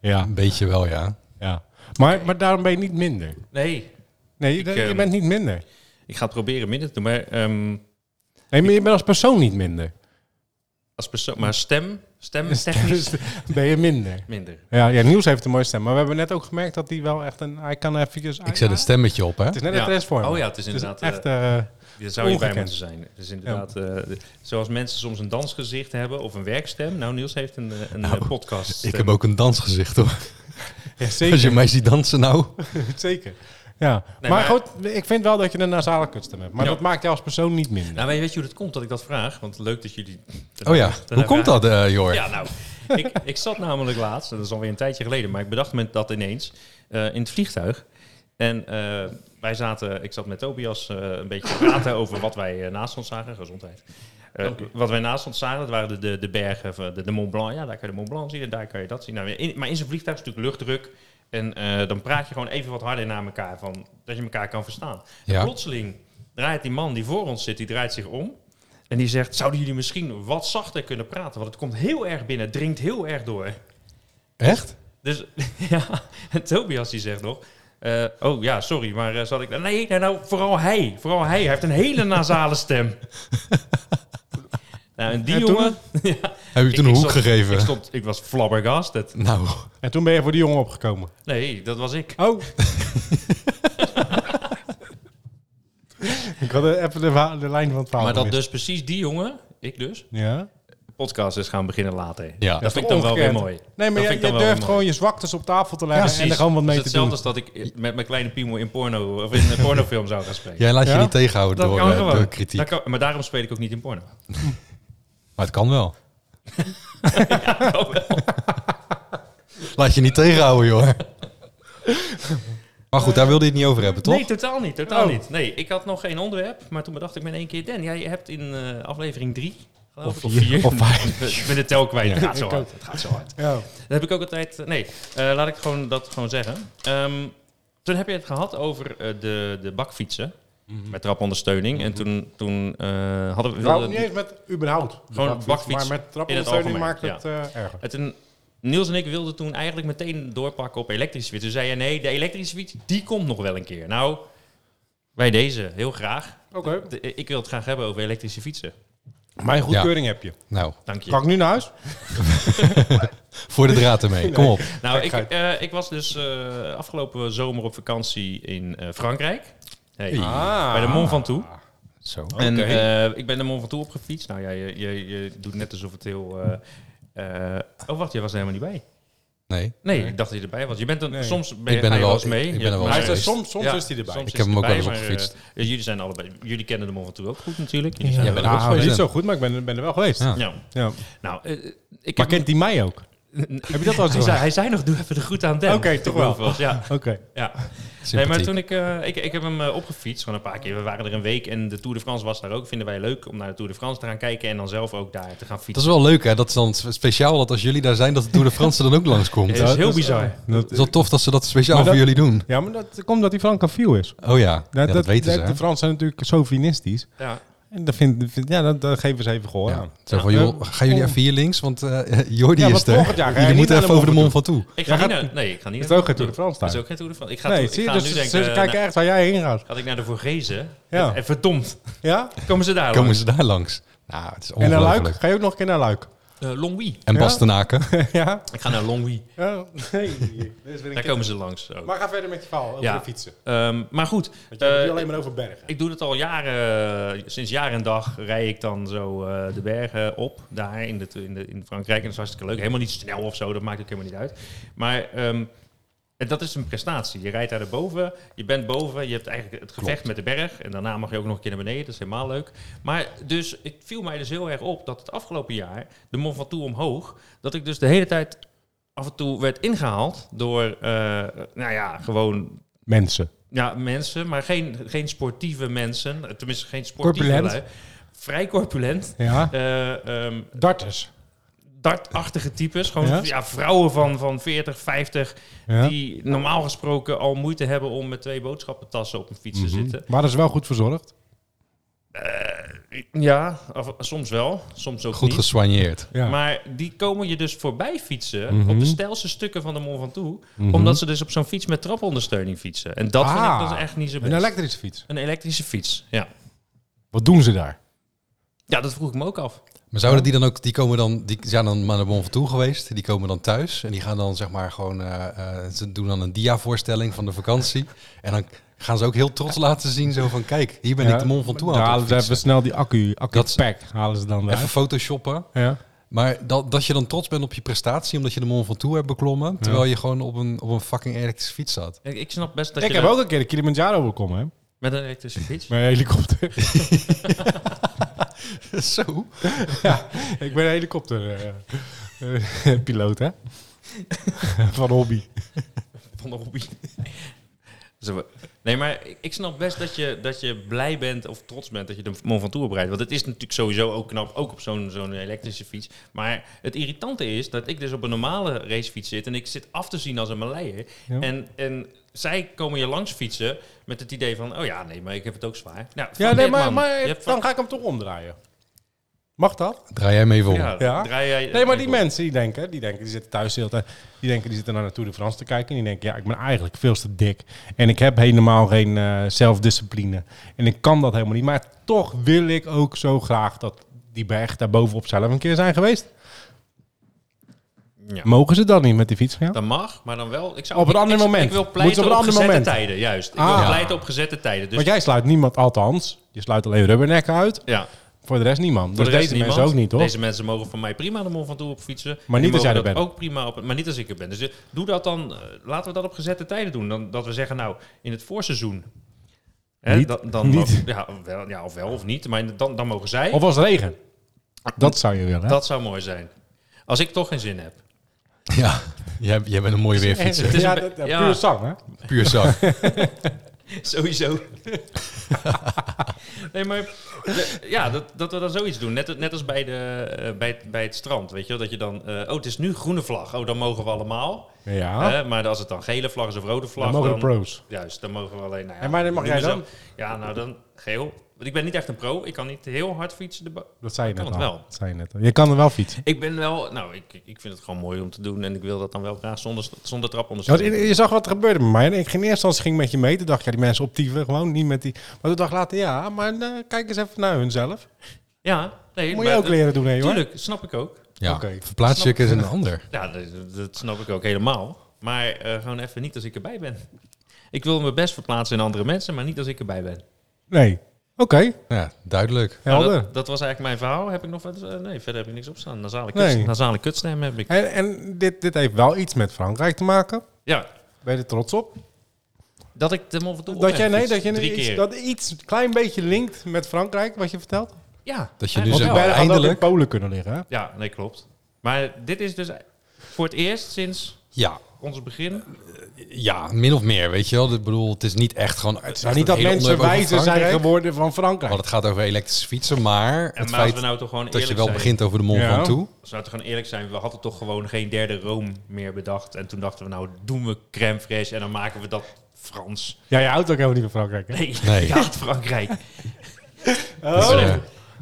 Ja.
Een beetje wel, ja.
ja. Maar, maar daarom ben je niet minder.
Nee.
Nee, je, je
ehm,
bent niet minder.
Ik ga het proberen minder te doen, maar... ehm,
Nee, maar je bent als persoon niet minder.
als persoon, maar stem, stem technisch
Dus ben je minder.
minder.
Ja, ja, Niels heeft een mooie stem. Maar we hebben net ook gemerkt dat hij wel echt een... Hij kan eventjes...
Ik zet een stemmetje op, hè.
Het is net
Ja.
een testvorm.
Oh ja, het is inderdaad,
echt... eh,
Daar zou je bij
Ongekend.
moeten zijn. Het is inderdaad, eh, de- zoals mensen soms een dansgezicht hebben of een werkstem. Nou, Niels heeft een, eh, een eh, podcast.
Ik heb ook een dansgezicht, hoor.
ja,
Als je
zeker.
mij ziet dansen nou.
zeker. Ja.
Nee,
maar,
maar-
goed, ik vind wel dat je een nasale kutstem hebt. Maar
Ja.
dat maakt jou als persoon niet minder.
Nou, weet je, weet je hoe dat komt dat ik dat vraag? Want leuk dat jullie...
Oh ja, hoe komt dat, eh Jor?
Ja, nou, ik, ik zat namelijk laatst, en dat is alweer een tijdje geleden, maar ik bedacht me dat ineens eh, in het vliegtuig. En eh, wij zaten, ik zat met Tobias eh, een beetje te praten over wat wij eh, naast ons zagen, gezondheid. Eh, wat wij naast ons zagen, dat waren de, de, de bergen, van de, de Mont Blanc. Ja, daar kan je de Mont Blanc zien en daar kan je dat zien. Nou, in, maar in zo'n vliegtuig is natuurlijk luchtdruk. En eh, dan praat je gewoon even wat harder naar elkaar, van, dat je elkaar kan verstaan.
Ja.
En plotseling draait die man die voor ons zit, die draait zich om. En die zegt, zouden jullie misschien wat zachter kunnen praten? Want het komt heel erg binnen, het dringt heel erg door.
Echt?
Dus ja, en Tobias die zegt nog... eh, oh ja, sorry, maar eh, zal ik... Nee, nee, nou, vooral hij. Vooral hij. Hij heeft een hele nasale stem. nou, en die
En toen?
jongen... ja,
Heb je toen een hoek
stond-
gegeven?
Ik stond, ik was flabbergasted.
Nou,
En toen ben je voor die jongen opgekomen.
Nee, dat was ik.
Oh. ik had even de, wa- de lijn van het verhaal
Maar dat
gemist.
dus precies die jongen, ik dus,
Ja.
podcast is gaan beginnen later.
Ja.
Dat vind ik dan wel weer
Ongekend.
mooi.
Nee, maar
Dat
je,
vind ik dan
je
wel
durft
mooi.
gewoon je zwaktes op tafel te leggen en er gewoon wat
Het
mee
is
te
hetzelfde
doen.
als dat ik met mijn kleine piemel in porno of in een pornofilm zou gaan spelen.
jij laat je
Ja?
niet tegenhouden
dat
door,
kan
eh,
gewoon.
door kritiek.
Dat kan- maar daarom speel ik ook niet in porno.
Maar het kan wel. laat je niet tegenhouden, Jor. Maar goed, daar wilde je het niet over hebben, toch?
Nee, totaal niet. Totaal
Oh.
niet. Nee, ik had nog geen onderwerp, maar toen bedacht ik me in één keer, Dan, jij hebt in eh, aflevering drie, geloof ik, of vier,
Of vijf.
Ik ben de tel kwijt. Het gaat zo
ik
hard. Het gaat zo hard.
Ja.
Dat heb ik ook altijd. Nee, eh, laat ik gewoon dat gewoon zeggen. Ehm, toen heb je het gehad over eh, de, de bakfietsen met trapondersteuning. En toen, toen eh, hadden we.
Nou,
wilden-
niet eens met überhaupt. de
Gewoon bakfiets
Maar met
in
trapondersteuning
het
maakt
algemeen,
het eh erger.
Het een, Niels en ik wilden toen eigenlijk meteen doorpakken op elektrische fiets. Toen zei je nee, de elektrische fiets, die komt nog wel een keer. Nou, bij deze, heel graag.
Oké.
De- ik wil het graag hebben over elektrische fietsen.
Mijn goedkeuring heb je.
Nou,
Dank je.
Kan ik nu naar huis?
voor de draad ermee. Kom op.
Nou, ik, eh, ik was dus eh, afgelopen zomer op vakantie in eh, Frankrijk. Hey,
Ah.
Bij de Mont Ventoux.
Zo.
En eh, ik ben de Mont Ventoux opgefietst. Nou ja, je, je, je doet net alsof het heel... eh, eh, oh, wacht, je was er helemaal niet bij.
Nee,
Nee, ik dacht dat je erbij was. Je bent dan,
Nee.
soms ben,
Ik ben er wel-
je wel eens mee.
ik- ik
Ja,
ben er wel
maar-
eens
Hij is er, soms soms
Ja,
is hij erbij.
soms
Ik
is
heb hem ook wel
hij
eens
erbij,
opgefietst.
maar, eh, jullie zijn allebei. Jullie kennen de Mont Ventoux ook goed natuurlijk. Jullie zijn
Ja,
er
ben er
ook
ook
Nou,
geweest.
niet zo goed, maar ik ben, ben er wel geweest.
Ja.
Ja.
Ja.
Nou, eh, ik
Maar
heb
kent hij mij ook? Heb je dat al
Hij
eens
zei,
gezegd?
hij zei nog, doe even de groet aan Den.
Oké, toch wel.
Bovenals, Ja,
Oké.
ja. Nee,
Sympathiek.
maar toen ik, eh, ik, ik heb hem eh, opgefietst, gewoon een paar keer. We waren er een week en de Tour de France was daar ook. Vinden wij leuk om naar de Tour de France te gaan kijken en dan zelf ook daar te gaan
Dat is
fietsen.
wel leuk, hè? Dat is dan speciaal dat als jullie daar zijn, dat de Tour de France dan ook langskomt.
Ja,
Het
dat is heel bizar.
is wel tof dat ze dat speciaal
Maar dat-
voor jullie doen.
ja, maar dat komt dat hij Francofiel is.
Oh ja, ja, dat, weten ze.
De
hè?
Fransen zijn natuurlijk chauvinistisch.
Ja.
En dat, vind, vind- ja, dat, dat geven ze even gehoor
Ja.
aan.
Zo van,
Ja.
joh, gaan jullie
Eh,
even hier links? Want eh, Jordi
Ja, maar
is er.
volgend jaar ga
jullie
je
moeten
niet
even over de
naar
mond
de
van toe.
Ik ga
Jij
niet
gaat-
naar... Nee, ik ga niet
Is
naar-
ook geen Tour de France
Dat is
daar?
ook geen Tour de France. Ik ga,
Nee,
toe- ik
zie je,
ga
dus
nu
ze
denken...
ze
eh,
kijken
nou,
echt waar jij heen gaat.
had ik naar de Vorgezen.
Ja.
En verdomd,
Ja?
komen ze daar
Komen ze daar langs? Nou, het is
En naar Luik?
ongelooflijk.
Ga je ook nog een keer naar Luik?
langs. Eh, Longwy.
En
Ja?
Bastenaken.
ja?
Ik ga naar Longwy.
ja? Nee. Dit is weer een
Daar
keer-
komen ze langs ook.
Maar ga verder met je verhaal over
Ja.
de fietsen.
Ehm, maar goed,
Want je hebt het nu
eh,
alleen maar over bergen.
Ik doe dat al jaren. eh, Sinds jaar en dag rij ik dan zo eh, de bergen op. Daar in, de, in, de, in Frankrijk. En dat is hartstikke leuk. Helemaal niet snel of zo. Dat maakt ook helemaal niet uit. Maar ehm, en dat is een prestatie. Je rijdt daar boven. Je bent boven. Je hebt eigenlijk het gevecht met de berg. En daarna mag je ook nog een keer naar beneden. Dat is helemaal leuk. Maar dus het viel mij dus heel erg op dat het afgelopen jaar, de Mont Ventoux omhoog, dat ik dus de hele tijd af en toe werd ingehaald door, eh, nou ja, gewoon
Mensen.
ja, mensen, maar geen, geen sportieve mensen. Eh, Tenminste, geen sportieve
Corpulent.
lui. Vrij corpulent.
Ja.
Eh, ehm,
Darters.
dartachtige types. Gewoon
Ja?
ja? vrouwen van, van 40, 50.
Ja.
Die normaal gesproken al moeite hebben om met twee boodschappentassen op een fiets
Mhm.
te zitten.
Maar dat is wel goed verzorgd.
Ja, of- soms wel. Soms ook
Goed
niet.
gesoigneerd.
Ja.
Maar die komen je dus voorbij fietsen
Mhm.
op de stijlste stukken van de Mont Ventoux. Omdat ze dus op zo'n fiets met trapondersteuning fietsen. En dat
Ah.
vind ik dus echt niet zo best.
een elektrische fiets.
een elektrische fiets, ja.
Wat doen ze daar?
Ja, dat vroeg ik me ook af.
Maar zouden die dan ook, die komen dan, die zijn dan maar naar Bon van toe geweest, die komen dan thuis en die gaan dan zeg maar gewoon, eh, eh, ze doen dan een dia-voorstelling van de vakantie en dan gaan ze ook heel trots laten zien zo van, kijk, hier ben
Ja.
ik de Mont van toe
Daar
aan
halen
het
ze even
fietsen.
snel die accu, accu
Dat is-
pack halen ze dan
Even
weg.
photoshoppen.
Ja.
Maar dat, dat je dan trots bent op je prestatie omdat je de Mont van toe hebt beklommen, terwijl je gewoon op een, op een fucking elektrische fiets zat.
Ik, ik snap best dat
Ik
je
heb
dat-
ook een keer de Kilimanjaro bekomen, hè?
Met een elektrische fiets?
Met een helikopter.
zo?
ik ben een helikopter eh, eh, piloot, hè? Van hobby.
Van de hobby. Zo, Nee, maar ik- ik snap best dat je, dat je blij bent of trots bent dat je de Mont Ventoux oprijdt. Want het is natuurlijk sowieso ook knap, ook op zo'n zo'n elektrische fiets. Maar het irritante is dat ik dus op een normale racefiets zit en ik zit af te zien als een Maleier.
Ja.
En, en zij komen je langs fietsen met het idee van, oh ja, nee, maar ik heb het ook zwaar. Nou,
Ja,
fuck
nee,
it,
maar,
man. Je
maar
hebt
dan
fuck-
ga ik hem toch omdraaien. Mag dat?
Draai jij mee vol.
ja,
Ja.
draai jij-
Nee, maar die mensen die denken, die denken, die zitten thuis de hele tijd, die denken, die zitten naar de Tour de France te kijken en die denken, ja, ik ben eigenlijk veel te dik en ik heb helemaal geen eh, zelfdiscipline en ik kan dat helemaal niet, maar toch wil ik ook zo graag dat die berg daar bovenop zelf een keer zijn geweest.
Ja.
Mogen ze dan niet met die fiets gaan?
Dat mag, maar dan wel. Ik zou,
Op een
ik-
ander
ik-
moment.
Ik wil
Moeten
pleiten
we op
op,
een ander
gezette
moment.
tijden, juist. Ik
Ah.
wil pleiten op gezette tijden. Dus
Want jij sluit niemand, althans, je sluit alleen rubbernekken uit,
ja,
voor de rest niemand.
voor
dus
de rest
deze
niemand.
mensen ook niet, hoor.
Deze mensen mogen van mij prima de Mont Ventoux op fietsen.
Maar
En
niet
die
als jij
mogen
er
dat
bent.
Ook prima op, maar niet als ik er ben. Dus eh, doe dat dan. eh, laten we dat op gezette tijden doen. Dan, dat we zeggen, nou, in het voorseizoen. Hè,
Niet.
dan, dan
Niet.
Ja, wel, ja, of wel of niet. Maar dan, dan mogen zij.
Of als regen. Dat zou je willen. hè?
dat zou mooi zijn. Als ik toch geen zin heb.
Ja, jij, jij bent een mooie weerfietser.
Het is
ja,
een be-
dat, ja,
ja.
puur zang, hè?
Puur zak.
Sowieso. nee, maar de- ja, dat, dat we dan zoiets doen. Net, net als bij, de, eh, bij, het- bij het strand, weet je wel. Dat je dan, eh, oh, het is nu groene vlag. Oh, dan mogen we allemaal.
Ja,
Eh, maar als het dan gele vlag is of rode vlag...
Ah. dan mogen de pro's.
Juist, dan mogen we alleen... Nou ja,
En wanneer mag
doen
jij
we zo.
dan?
Ja, nou dan geel. Want ik ben niet echt een pro. Ik kan niet heel hard fietsen. De ba-
Dat zei je
Kan
net al.
het wel.
Dat zei je net al. Je kan er wel fietsen.
ik ben wel... Nou, ik, ik vind het gewoon mooi om te doen. En ik wil dat dan wel graag zonder, zonder trap
Ja,
ondersteunen.
want je je zag wat er gebeurde met mij. En ik ging in eerste instantie ging met je mee. Toen dacht ik, ja, die mensen optieven gewoon niet met die. Maar toen dacht ik later, ja, maar eh, kijk eens even naar hunzelf.
Ja, nee.
Moet je
maar
ook
dat-
leren doen, hè, hoor.
Tuurlijk, snap ik ook.
Ja,
Oké.
verplaats je eens in een ander.
Ja, dat, dat snap ik ook helemaal. Maar eh, gewoon even niet als ik erbij ben. Ik wil me best verplaatsen in andere mensen, maar niet als ik erbij ben.
Nee. Oké,
Ja, duidelijk.
Nou,
helder.
dat, dat was eigenlijk mijn verhaal. Heb ik nog wat? eh, nee, verder heb ik niks op staan. Nasale,
Nee.
kut, nasale kutstem heb ik.
En, en dit, dit heeft wel iets met Frankrijk te maken.
Ja,
Ben je er trots op?
dat ik de Mont Ventoux op
Dat
heb
jij, nee, dat
gefietst.
je
Drie
iets,
keer.
dat iets een klein beetje linkt met Frankrijk, wat je vertelt.
ja,
Dat je nu zegt,
eigenlijk
Want
wel.
die bijna hadden ook in
eindelijk.
Polen kunnen liggen, hè?
Ja, nee, klopt. Maar dit is dus... Voor het eerst sinds
Ja,
ons begin.
ja, min of meer, weet je wel. Ik bedoel, het is niet echt gewoon... Het is echt
Nou, niet
een
dat
hele
mensen
onderwerp over
wijzer zijn
Frankrijk,
geworden van Frankrijk.
Want het gaat over elektrische fietsen, maar
En
het
maar als we
feit
nou toch gewoon
dat
eerlijk
je wel
zijn,
begint over de mond
Ja.
van toe.
Als we nou toch gewoon eerlijk zijn, we hadden toch gewoon geen derde room meer bedacht. En toen dachten we, nou doen we crème fraîche en dan maken we dat Frans.
Ja, je houdt ook helemaal niet van Frankrijk. Hè?
Nee,
Nee.
ja, Frankrijk.
Dus,
Oh.
eh,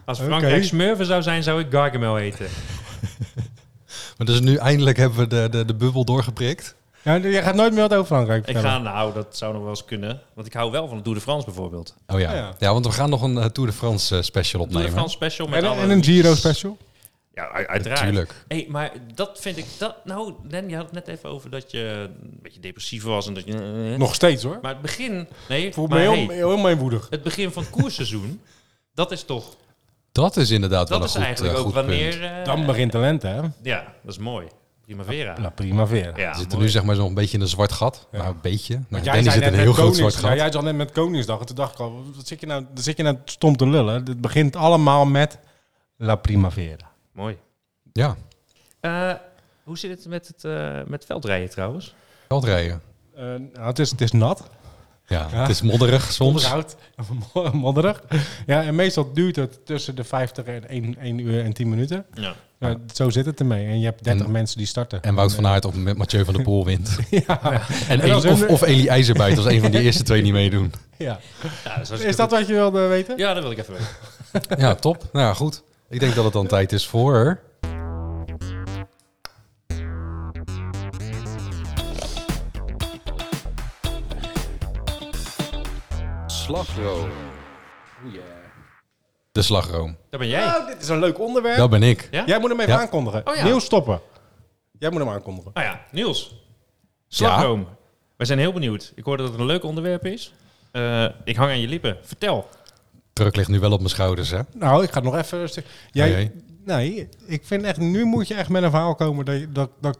Als
Oké.
Frankrijk smurven zou zijn, zou ik Gargamel eten.
maar dus nu eindelijk hebben we de, de, de bubbel doorgeprikt.
Ja, je gaat nooit meer wat over Frankrijk
Ik
vertellen.
ga, nou, dat zou nog wel eens kunnen. Want ik hou wel van het Tour de France bijvoorbeeld.
Oh ja.
Oh
ja.
ja.
want we gaan nog een eh, Tour de France eh, special
Tour de
opnemen.
France special met
En,
alle
en een Giro special.
Ja, u- uiteraard.
Natuurlijk.
Hey, maar dat vind ik... Dat, nou, Len, je had het net even over dat je een beetje depressief was. En dat je, eh,
Nog steeds hoor.
Maar het begin... Nee,
Ik voel
maar
me heel,
hey,
heel meewoedig.
het begin van het koersseizoen... dat is toch...
Dat is inderdaad
Dat
wel een
is
goed, eh,
eigenlijk ook
goed
wanneer...
punt.
eh,
Dan begint talent hè.
Ja, dat is mooi. Primavera.
Nou,
La Primavera.
Ja,
we zitten
mooi.
nu zeg maar zo'n beetje in een zwart gat.
Ja.
Nou, een beetje. Nou,
Want
Danny zit in een heel groot zwart
Koningsdag.
gat.
Jij zat net met Koningsdag. En toen dacht ik al, wat zit je nou, dan zit je nou stom te lullen. Het begint allemaal met La Primavera.
mooi.
Ja,
Eh, hoe zit het met het eh, met veldrijden trouwens?
veldrijden.
Eh, nou, het, is, het is nat.
Ja,
Ja.
het is modderig soms.
Koud. Modderig. Ja, en meestal duurt het tussen de 50 en 1, uur en 10 minuten.
Ja.
Nou, zo zit het ermee. En je hebt 30
En-
mensen die starten.
En Wout van Aert of met Mathieu van der Poel wint.
Ja.
En
En als
Eli- of,
hun-
of Elie IJzerbuit als een van die eerste twee niet meedoen.
ja.
Ja, dat is, hartstikke
Is dat
goed.
wat je wilde weten?
Ja, dat wil ik even weten.
Ja, top. Nou ja, goed. Ik denk dat het dan tijd is voor...
Slagroom.
Oh, De slagroom.
Daar ben jij.
Oh, dit is een leuk onderwerp.
Dat ben ik.
Ja?
Jij moet hem even
Ja.
aankondigen.
Oh ja.
Niels stoppen. Jij moet hem aankondigen.
Nou ja, Niels. Slagroom. Wij zijn heel benieuwd. Ik hoorde dat het een leuk onderwerp is. Eh, ik hang aan je lippen. Vertel.
Druk ligt nu wel op mijn schouders, hè?
Nou, ik ga nog even... een stuk-
Oh
Jij,
jee.
nee, ik vind echt... Nu moet je echt met een verhaal komen dat, je- dat, dat,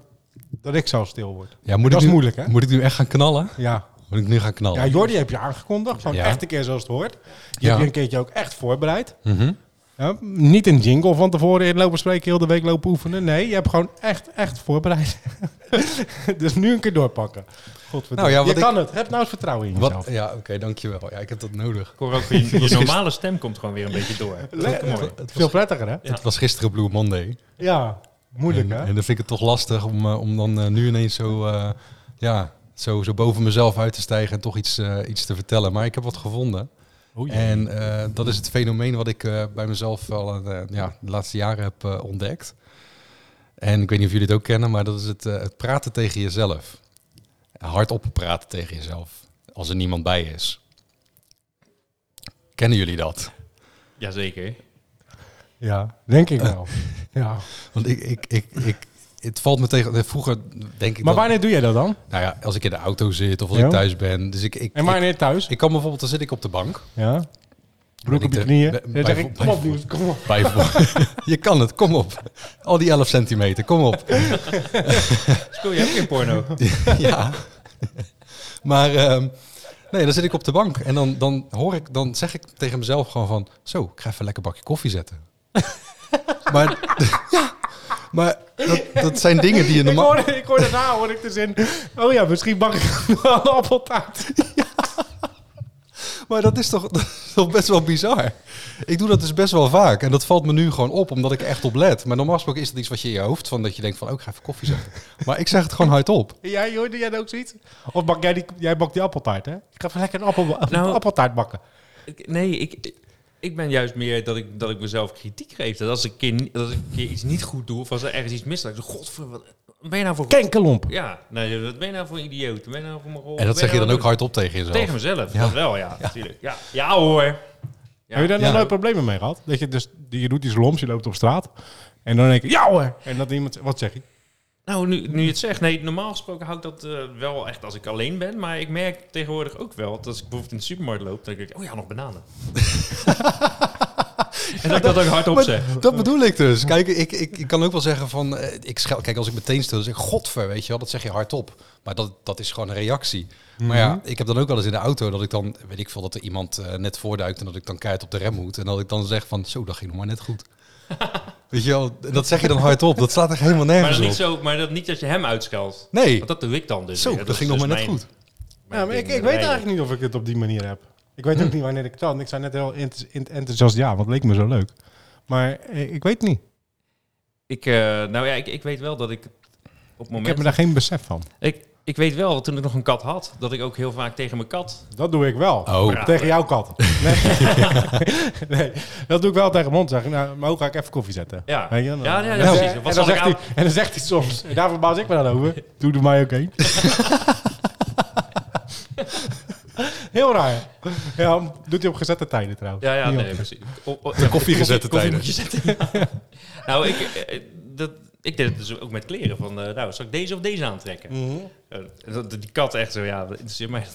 dat ik zelf stil word.
Ja, moet
Dat
ik
is
nu,
moeilijk, hè?
Moet ik nu echt gaan knallen?
Ja.
Moet ik nu gaan knallen?
ja, Jordi heb je aangekondigd. Gewoon
Ja.
echt een keer zoals het hoort. Je
Ja.
hebt je een keertje ook echt voorbereid.
Mhm.
Ja, niet een jingle van tevoren in lopen spreken, heel de week lopen oefenen. Nee, je hebt gewoon echt, echt voorbereid. dus nu een keer doorpakken. Godverdomme.
Nou ja, wat
je
ik-
kan het. Heb nou eens vertrouwen in
Wat?
jezelf.
Ja, oké, dankjewel. Ja, ik heb dat nodig.
Ik hoor ook je, je normale stem komt gewoon weer een beetje door. Dat is ook
Het,
mooi.
wa- het
Veel
was,
prettiger, hè?
Ja.
het was gisteren Blue Monday.
Ja, moeilijk,
en,
hè?
en dan vind ik het toch lastig om, eh, om dan eh, nu ineens zo, eh, ja, zo, zo boven mezelf uit te stijgen en toch iets, eh, iets te vertellen. Maar ik heb wat gevonden.
Oh
En eh, dat is het fenomeen wat ik eh, bij mezelf al eh, ja, de laatste jaren heb eh, ontdekt. En ik weet niet of jullie het ook kennen, maar dat is het, eh, het praten tegen jezelf. Hardop praten tegen jezelf, als er niemand bij is. Kennen jullie dat?
Jazeker.
Ja, denk ik wel. ja.
Want ik, ik, ik, ik, het valt me tegen. eh, Vroeger denk ik.
Maar
dat-
wanneer doe jij dat dan?
Nou ja, als ik in de auto zit of als
Ja.
ik thuis ben. Dus ik, ik,
En
ik,
wanneer thuis?
ik kan bijvoorbeeld, dan zit ik op de bank.
Ja. Broek op
ik
je
de-
knieën.
bij-
Dan zeg
bij-
ik, kom op, Niels, kom op.
Bij je kan het, kom op. Al die 11 centimeter, kom op.
Speel je ook in porno?
ja. maar ehm, nee, dan zit ik op de bank en dan, dan hoor ik, dan zeg ik tegen mezelf gewoon van, zo, ik ga even lekker bakje koffie zetten. maar ja, maar dat, dat zijn dingen die je
Ik
normaal.
hoor, ik hoor daarna hoor ik de zin. Oh ja, misschien bak ik wel een appeltaart.
Maar dat is, toch, dat is toch best wel bizar. Ik doe dat dus best wel vaak. En dat valt me nu gewoon op, omdat ik er echt op let. Maar normaal gesproken is dat iets wat je in je hoofd van dat je denkt van, oh, ik ga even koffie zetten. Maar ik zeg het gewoon hardop.
Jij hoorde jij dat ook zoiets? Of bak jij, die, jij bakt die appeltaart, hè? Ik ga even lekker een appel,
Nou-
appeltaart bakken.
Ik- Nee, ik, ik ben juist meer dat ik, dat ik mezelf kritiek geef. Dat als ik, een keer, ni- dat ik een keer iets niet goed doe of als er ergens iets misgaat, ik zeg, godver, wat ben je nou voor...
Kenkelomp.
Ja, nee, wat ben je nou voor een idioot? Ben je nou voor mijn rol?
En dat zeg je dan ook hardop tegen jezelf.
Tegen mezelf,
Ja.
dat wel, ja, natuurlijk. Ja, ja hoor. Ja.
Heb je daar nou
Ja.
nooit problemen mee gehad? Dat je dus, je doet die sloms, je loopt op straat. En dan denk ik, ja hoor. En dat iemand, zegt, wat zeg je?
Nou, nu, nu je het zegt, nee, normaal gesproken hou ik dat eh, wel echt als ik alleen ben. Maar ik merk tegenwoordig ook wel dat als ik bijvoorbeeld in de supermarkt loop, dan denk ik, oh ja, nog bananen. en dat ik dat ook hardop
Maar
zeg.
dat bedoel ik dus. Kijk, ik, ik, ik kan ook wel zeggen van... eh, Ik schel, kijk, als ik meteen stil zeg ik godver, weet je wel. Dat zeg je hardop. Maar dat, dat is gewoon een reactie. Maar ja,
Mhm.
ik heb dan ook wel eens in de auto dat ik dan... Weet ik veel, dat er iemand eh, net voorduikt en dat ik dan keihard op de rem moet. En dat ik dan zeg van, zo, dat ging nog maar net goed. Weet je wel, dat zeg je dan hardop. Dat slaat echt helemaal
Maar,
nergens
dat niet
op.
zo, maar dat niet dat je hem uitscheldt.
Nee,
Want dat doe ik dan dus.
zo,
weer.
dat
is
ging nog
dus
maar net
mijn-
goed.
mijn
Ja, maar
ding eh,
ik, ik weet
erbij.
eigenlijk niet of ik het op die manier heb. Ik weet ook niet wanneer ik het had. En Ik zei net heel ent- ent- enthousiast ja, want het leek me zo leuk. Maar eh, ik weet niet.
Ik, eh, nou ja, ik, ik weet wel dat ik op het
Ik heb
moment...
me
Ik,
daar geen besef van.
ik, weet wel, toen ik nog een kat had, dat ik ook heel vaak tegen mijn kat...
Dat doe ik wel.
Oh,
Ja.
Tegen jouw kat. Nee. nee, dat doe ik wel tegen mond. Zeg ik, nou, maar ook ga ik even koffie zetten.
Ja,
Weet je, dan-
ja, ja,
dan-
precies.
En
Wat
dan,
zal ik
zegt
aan...
hij, en dan zegt hij soms, en daar verbaas ik me dan over, doe er mij ook heen. Heel raar. Ja, doet hij op gezette tijden trouwens.
Ja, ja,
Niet
nee,
op-
precies. O- o- ja,
koffie gezette
koffie
tijden.
moet je zetten, ja. nou, ik, eh, dat, ik deed het dus ook met kleren. Van, eh, nou, zal ik deze of deze aantrekken?
Mhm.
Eh, dat- Die kat echt zo, ja, dat interesseert mij.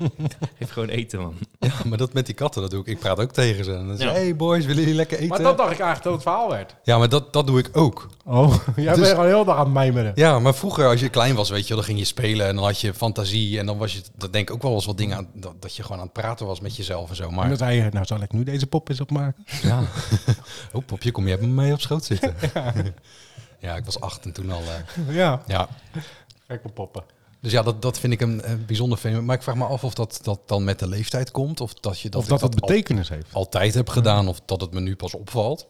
Heeft gewoon eten, man.
Ja, maar dat met die katten, dat doe ik. Ik praat ook tegen ze. En dan zeg ik,
Ja.
hey boys, willen jullie lekker eten?
Maar dat dacht ik eigenlijk dat het verhaal werd.
Ja, maar dat, dat doe ik ook.
Oh, jij
Dus-
bent gewoon heel dag aan het mijmeren.
Ja, maar vroeger als je klein was, weet je, wel, dan ging je spelen en dan had je fantasie. En dan was je, dat denk ik ook wel eens wat dingen, aan, dat, dat je gewoon aan het praten was met jezelf en zo.
En
Maar
dan zei je, nou zal ik nu deze pop eens opmaken?
ja, oh popje, kom je even mee op schoot zitten. Ja, ik was acht en toen al. eh,
ja,
ja.
gekke poppen.
Dus ja, dat, dat vind ik een, eh, bijzonder fenomeen. Maar ik vraag me af of dat, dat dan met de leeftijd komt. Of dat je dat,
of dat
ik
dat betekenis heeft.
al- altijd heb gedaan. Of dat het me nu pas opvalt.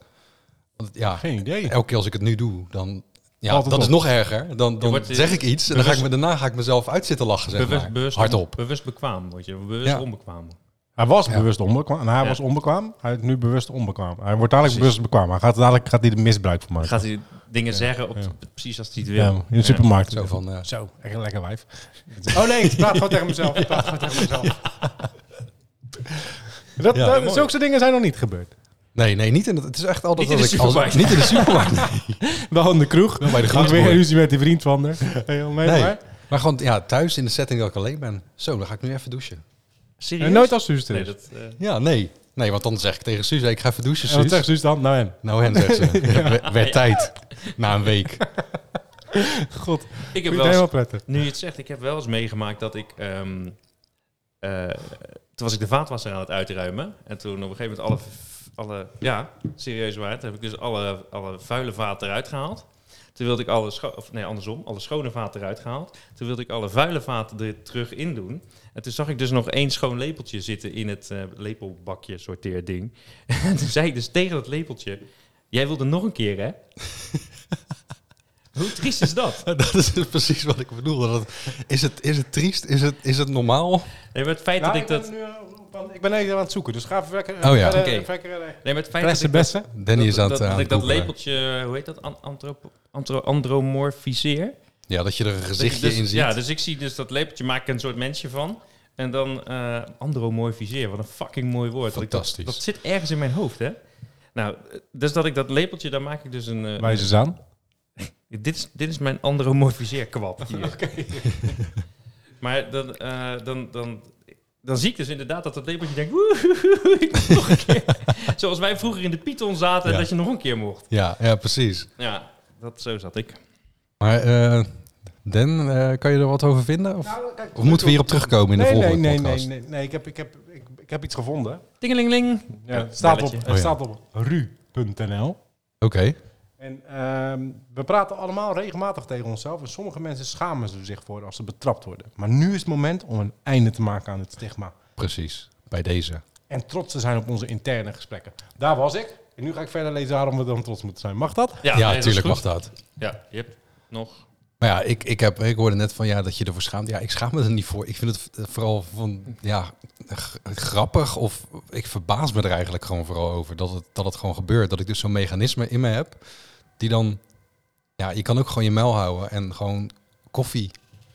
Want ja,
Geen idee.
elke keer als ik het nu doe, dan... Ja,
Valt het
dat is
op.
nog erger. Dan, dan
wordt, eh,
zeg ik iets en dan ga ik me, daarna ga ik mezelf uit zitten lachen, zeg maar. Hardop.
Bewust bekwaam, word je. Bewust
Ja.
onbekwaam.
Hij was
Ja.
bewust onbekwaam. Nou, hij
Ja.
was onbekwaam. Hij is nu bewust onbekwaam. Hij wordt dadelijk
Precies.
bewust bekwaam. Hij gaat, dadelijk gaat hij er misbruik van maken.
Gaat hij dingen zeggen op
Ja.
precies als hij het wil.
Ja, in de supermarkt.
Zo van... eh,
Zo, echt een lekker wijf. Oh nee, ik praat gewoon tegen mezelf. Ik praat gewoon tegen mezelf. Dat,
Ja,
dat-
mooi.
zulke soort dingen zijn nog niet gebeurd.
nee, nee, niet in het... Het is echt altijd
Niet in
als
de
ik... als-
supermarkt.
niet in de supermarkt. nee.
Wel in de kroeg. Wel
bij de
weer
groenteboer.
ruzie met die vriend van haar. Heel mee,
Nee.
maar-
Maar gewoon ja, thuis in de setting dat ik alleen ben. Zo, dan ga ik nu even douchen.
Serieus?
En nooit als Suus er
Nee,
is. dus.
dat, eh,
Ja, nee. Nee, want dan zeg ik tegen Suus, hey, ik ga even douchen,
En wat zegt
Suus.
Suus dan? Nou en?
Nou, hen zegt ze. Werd- Werd tijd. Na een week.
God,
ik
ik
heb wel eens-
helemaal prettig.
nu je het zegt, ik heb wel eens meegemaakt dat ik... ehm, eh, toen was ik de vaatwasser aan het uitruimen. En toen op een gegeven moment alle... v- alle ja, serieus waar. Toen heb ik dus alle, alle vuile vaat eruit gehaald. Toen wilde ik alle... scho- Of nee, andersom. Alle schone vaat eruit gehaald. Toen wilde ik alle vuile vaten er terug in doen. En toen zag ik dus nog één schoon lepeltje zitten in het eh, lepelbakje sorteerding. En toen zei ik dus tegen dat lepeltje... Jij wilde nog een keer, hè? Hoe triest is dat?
Dat is dus precies wat ik bedoel. Dat, is, het, is het triest? Is het, is het normaal?
Nee, maar het feit
Nou,
dat ik dat...
ben nu, eh, want ik ben even aan het zoeken, dus ga even lekker...
Oh ja.
verder- eh,
Oké.
verder- verder-
Nee, maar het feit dat
Beste
ik dat,
beste.
Danny is eh, aan
dat,
het
dat
aan
ik
het
dat
googelen.
lepeltje, hoe heet dat, An- antropo- antro- andromorfiseer?
Ja, dat je er een
Dat je
gezichtje
dus,
in ziet.
Ja, dus ik zie dus dat lepeltje, maak ik een soort mensje van. En dan eh andromorfiseer, wat een fucking mooi woord. Dat ik dat-
Fantastisch.
Dat, zit ergens in mijn hoofd, hè? Nou, eh, dus dat ik dat lepeltje, daar maak ik dus een... eh,
Wijs eens aan.
dit, is, dit is mijn andromorfiseerkwap hier. maar dan, eh, dan, dan, dan zie ik dus inderdaad dat dat lepeltje denkt... "Woehoehoe, ik moet nog een keer. Zoals wij vroeger in de Python zaten,
Ja.
dat je nog een keer mocht.
ja, ja, precies.
Ja, dat, zo zat ik.
Maar eh Dan, eh, kan je er wat over vinden? Of,
Nou, kijk,
of moeten we hierop terugkomen in de
nee, nee,
volgende
nee,
podcast?
Nee, nee, nee. Ik heb, ik heb, ik, ik heb iets gevonden.
Tingelingeling.
Ja, het staat op,
belletje.
het
Oh ja.
staat op ru.nl.
Oké.
En ehm, we praten allemaal regelmatig tegen onszelf. En sommige mensen schamen ze zich voor als ze betrapt worden. Maar nu is het moment om een einde te maken aan het stigma.
Precies, bij deze.
En trots te zijn op onze interne gesprekken. Daar was ik. En nu ga ik verder lezen waarom we dan trots moeten zijn. Mag dat?
Ja,
nee, dat is
tuurlijk
goed.
mag dat.
Ja, je hebt nog...
Maar ja, ik, ik, heb, ik hoorde net van ja, dat je ervoor schaamt. Ja, ik schaam me er niet voor. Ik vind het v- vooral van, ja, g- grappig. Of ik verbaas me er eigenlijk gewoon vooral over. Dat het, dat het gewoon gebeurt. Dat ik dus zo'n mechanisme in me heb. Die dan, ja, je kan ook gewoon je muil houden. En gewoon koffie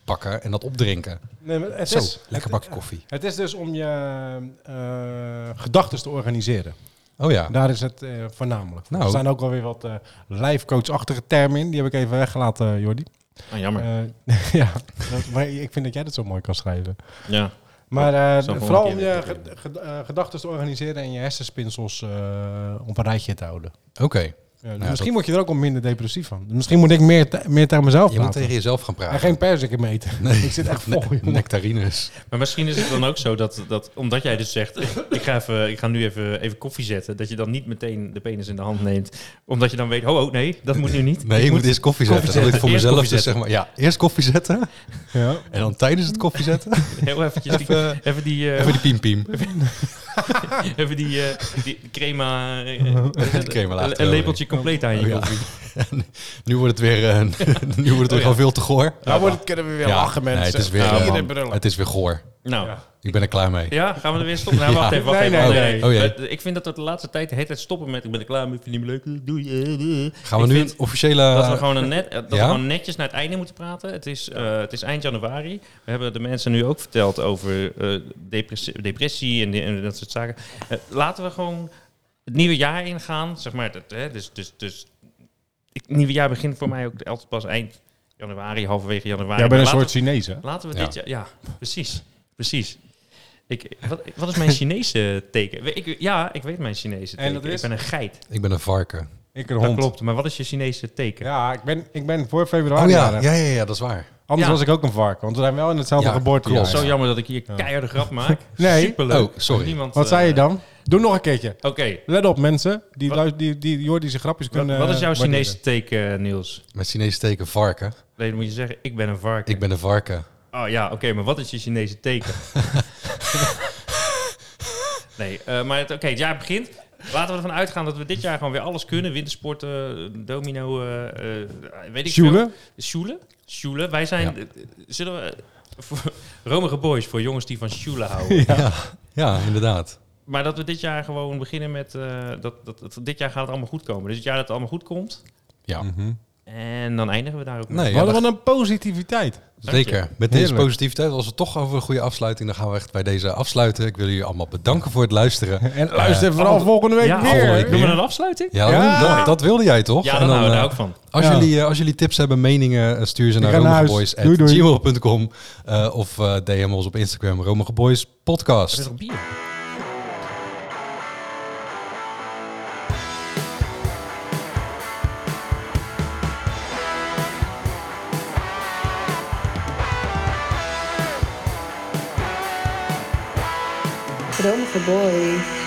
pakken en dat opdrinken.
Nee, maar het
Zo,
is,
lekker
het-
bakje koffie.
Het is dus om je eh gedachten te organiseren.
Oh ja,
Daar is het eh, voornamelijk. voor.
Nou.
Er zijn ook alweer wat eh lijfcoachachtige termen in. Die heb ik even weggelaten, eh, Jordi.
Ah, jammer.
Eh, ja, dat- maar ik vind dat jij dat zo mooi kan schrijven.
ja.
Maar eh,
Zo volgende
vooral
keer
om
weer
je
proberen.
ge- ge- eh, gedachten te organiseren en je hersenspinsels eh, op een rijtje te houden.
oké.
Ja,
ja,
misschien
dat-
word je er ook al minder depressief van. Misschien moet ik meer, te- meer tegen mezelf
Je moet
praten.
tegen jezelf gaan praten.
En geen persikken meer eten.
Nee.
Ik zit echt vol.
Ne-
jongen.
nectarines.
Maar misschien is het dan ook zo dat, dat omdat jij dus zegt, ik ga, even, ik ga nu even, even koffie zetten, dat je dan niet meteen de penis in de hand neemt. Omdat je dan weet, oh, oh nee, dat moet nu niet.
Nee,
Ik
je moet eerst koffie zetten.
koffie
Dat ik voor
zetten.
mezelf
Eerst
dus
koffie
zeg maar, ja, eerst koffie zetten
Ja.
en dan tijdens het koffie zetten
heel eventjes die,
even,
even die, eh,
even die piem piem.
even die, eh, die crema, eh,
crema laten
een, een lepeltje compleet aan je
Oh, ja.
koffie.
Nu wordt het weer, eh, nu wordt het weer gewoon veel te goor.
Nou wordt het, kunnen we weer lachen, mensen.
nee, het is weer,
Vieren
eh, man,
brullen.
het is weer goor.
Nou,
Ik ben er klaar mee.
Ja, gaan we er weer stoppen? Nou,
Ja.
wacht even, wacht
Nee,
even.
nee,
Nee,
nee.
nee.
Oh, jee.
Maar Ik vind dat we de laatste tijd de hele tijd stoppen met... Ik ben er klaar mee, vind je me leuk? eh, Doei. eh, eh.
Gaan we
Ik
nu
vind
een officiële...
dat we gewoon, een net, eh, dat we
ja?
gewoon netjes naar het einde moeten praten. Het is, eh, het is eind januari. We hebben de mensen nu ook verteld over eh, depressie, depressie en, die- en dat soort zaken. Eh, laten we gewoon het nieuwe jaar ingaan. Zeg maar, dat, hè, dus, dus, dus ik, het nieuwe jaar begint voor mij ook altijd pas eind januari, halverwege januari.
Jij
Maar
bent een
laten we-
soort Chinees, hè?
Laten we
Ja.
dit jaar... Ja, precies. Precies. Ik, wat, wat is mijn Chinese teken? We- Ik, ja, ik weet mijn Chinese
En
teken.
dat is?
Ik ben een geit.
Ik ben een varken.
Ik een
Dat
hond.
klopt. Maar wat is je Chinese teken?
Ja, ik ben, ik ben voor
Oh
februari
ja,
jarig.
ja, ja, ja, dat is waar.
Anders
Ja.
was ik ook een varken, want we zijn wel in hetzelfde
Ja,
geboortejaar.
klopt.
Zo jammer dat ik hier keiharde grap maak.
Nee.
Superleuk.
Oh, sorry.
Niemand,
Wat
eh,
zei je dan? Doe nog een keertje.
Oké.
Let op, mensen. Die,
Wat-
lui- die, die Jordi zijn grapjes
Wat,
kunnen...
wat is jouw
eh, waarderen.
Chinese teken, Niels?
Met Chinese teken varken.
Nee, dan moet je zeggen, ik ben een varken.
Ik ben een varken.
Oh ja, oké, maar wat is je Chinese teken? nee, eh, maar het- oké, het jaar begint. Laten we ervan uitgaan dat we dit jaar gewoon weer alles kunnen. Wintersporten, domino, eh, eh, weet ik
Sjoelen?
veel. Sjoelen? Sjoelen. Wij zijn...
Ja.
eh, Zullen we... Voor, romige boys, voor jongens die van sjoelen houden.
Ja. Ja, inderdaad.
Maar dat we dit jaar gewoon beginnen met... eh, dat, dat, dat- dit jaar gaat het allemaal goed komen. Dus het jaar dat het allemaal goed komt.
Ja.
En dan eindigen we daar ook mee.
Nee,
Mhm. Wat-
ja,
Wat
dat-
een positiviteit.
zeker. Met deze
Heerlijk.
positiviteit, als we toch over een goede afsluiting, dan gaan we echt bij deze afsluiten. Ik wil jullie allemaal bedanken voor het luisteren.
En luister vooral Oh,
allemaal-
Eh, volgende week
ja,
weer.
volgende
doen
week
we
weer.
een afsluiting?
Ja,
Ja.
Dat, dat wilde jij toch?
Ja,
En
dan houden we
eh,
daar ook van.
Als,
Ja.
jullie, eh, als jullie tips hebben, meningen, eh, stuur ze naar
ga naar huis. Doei, doei.
romigeboys.gmail.com eh of eh, DM ons op Instagram, Romigeboys
Er is
Podcast.
nog bier.
Dromen voor boys.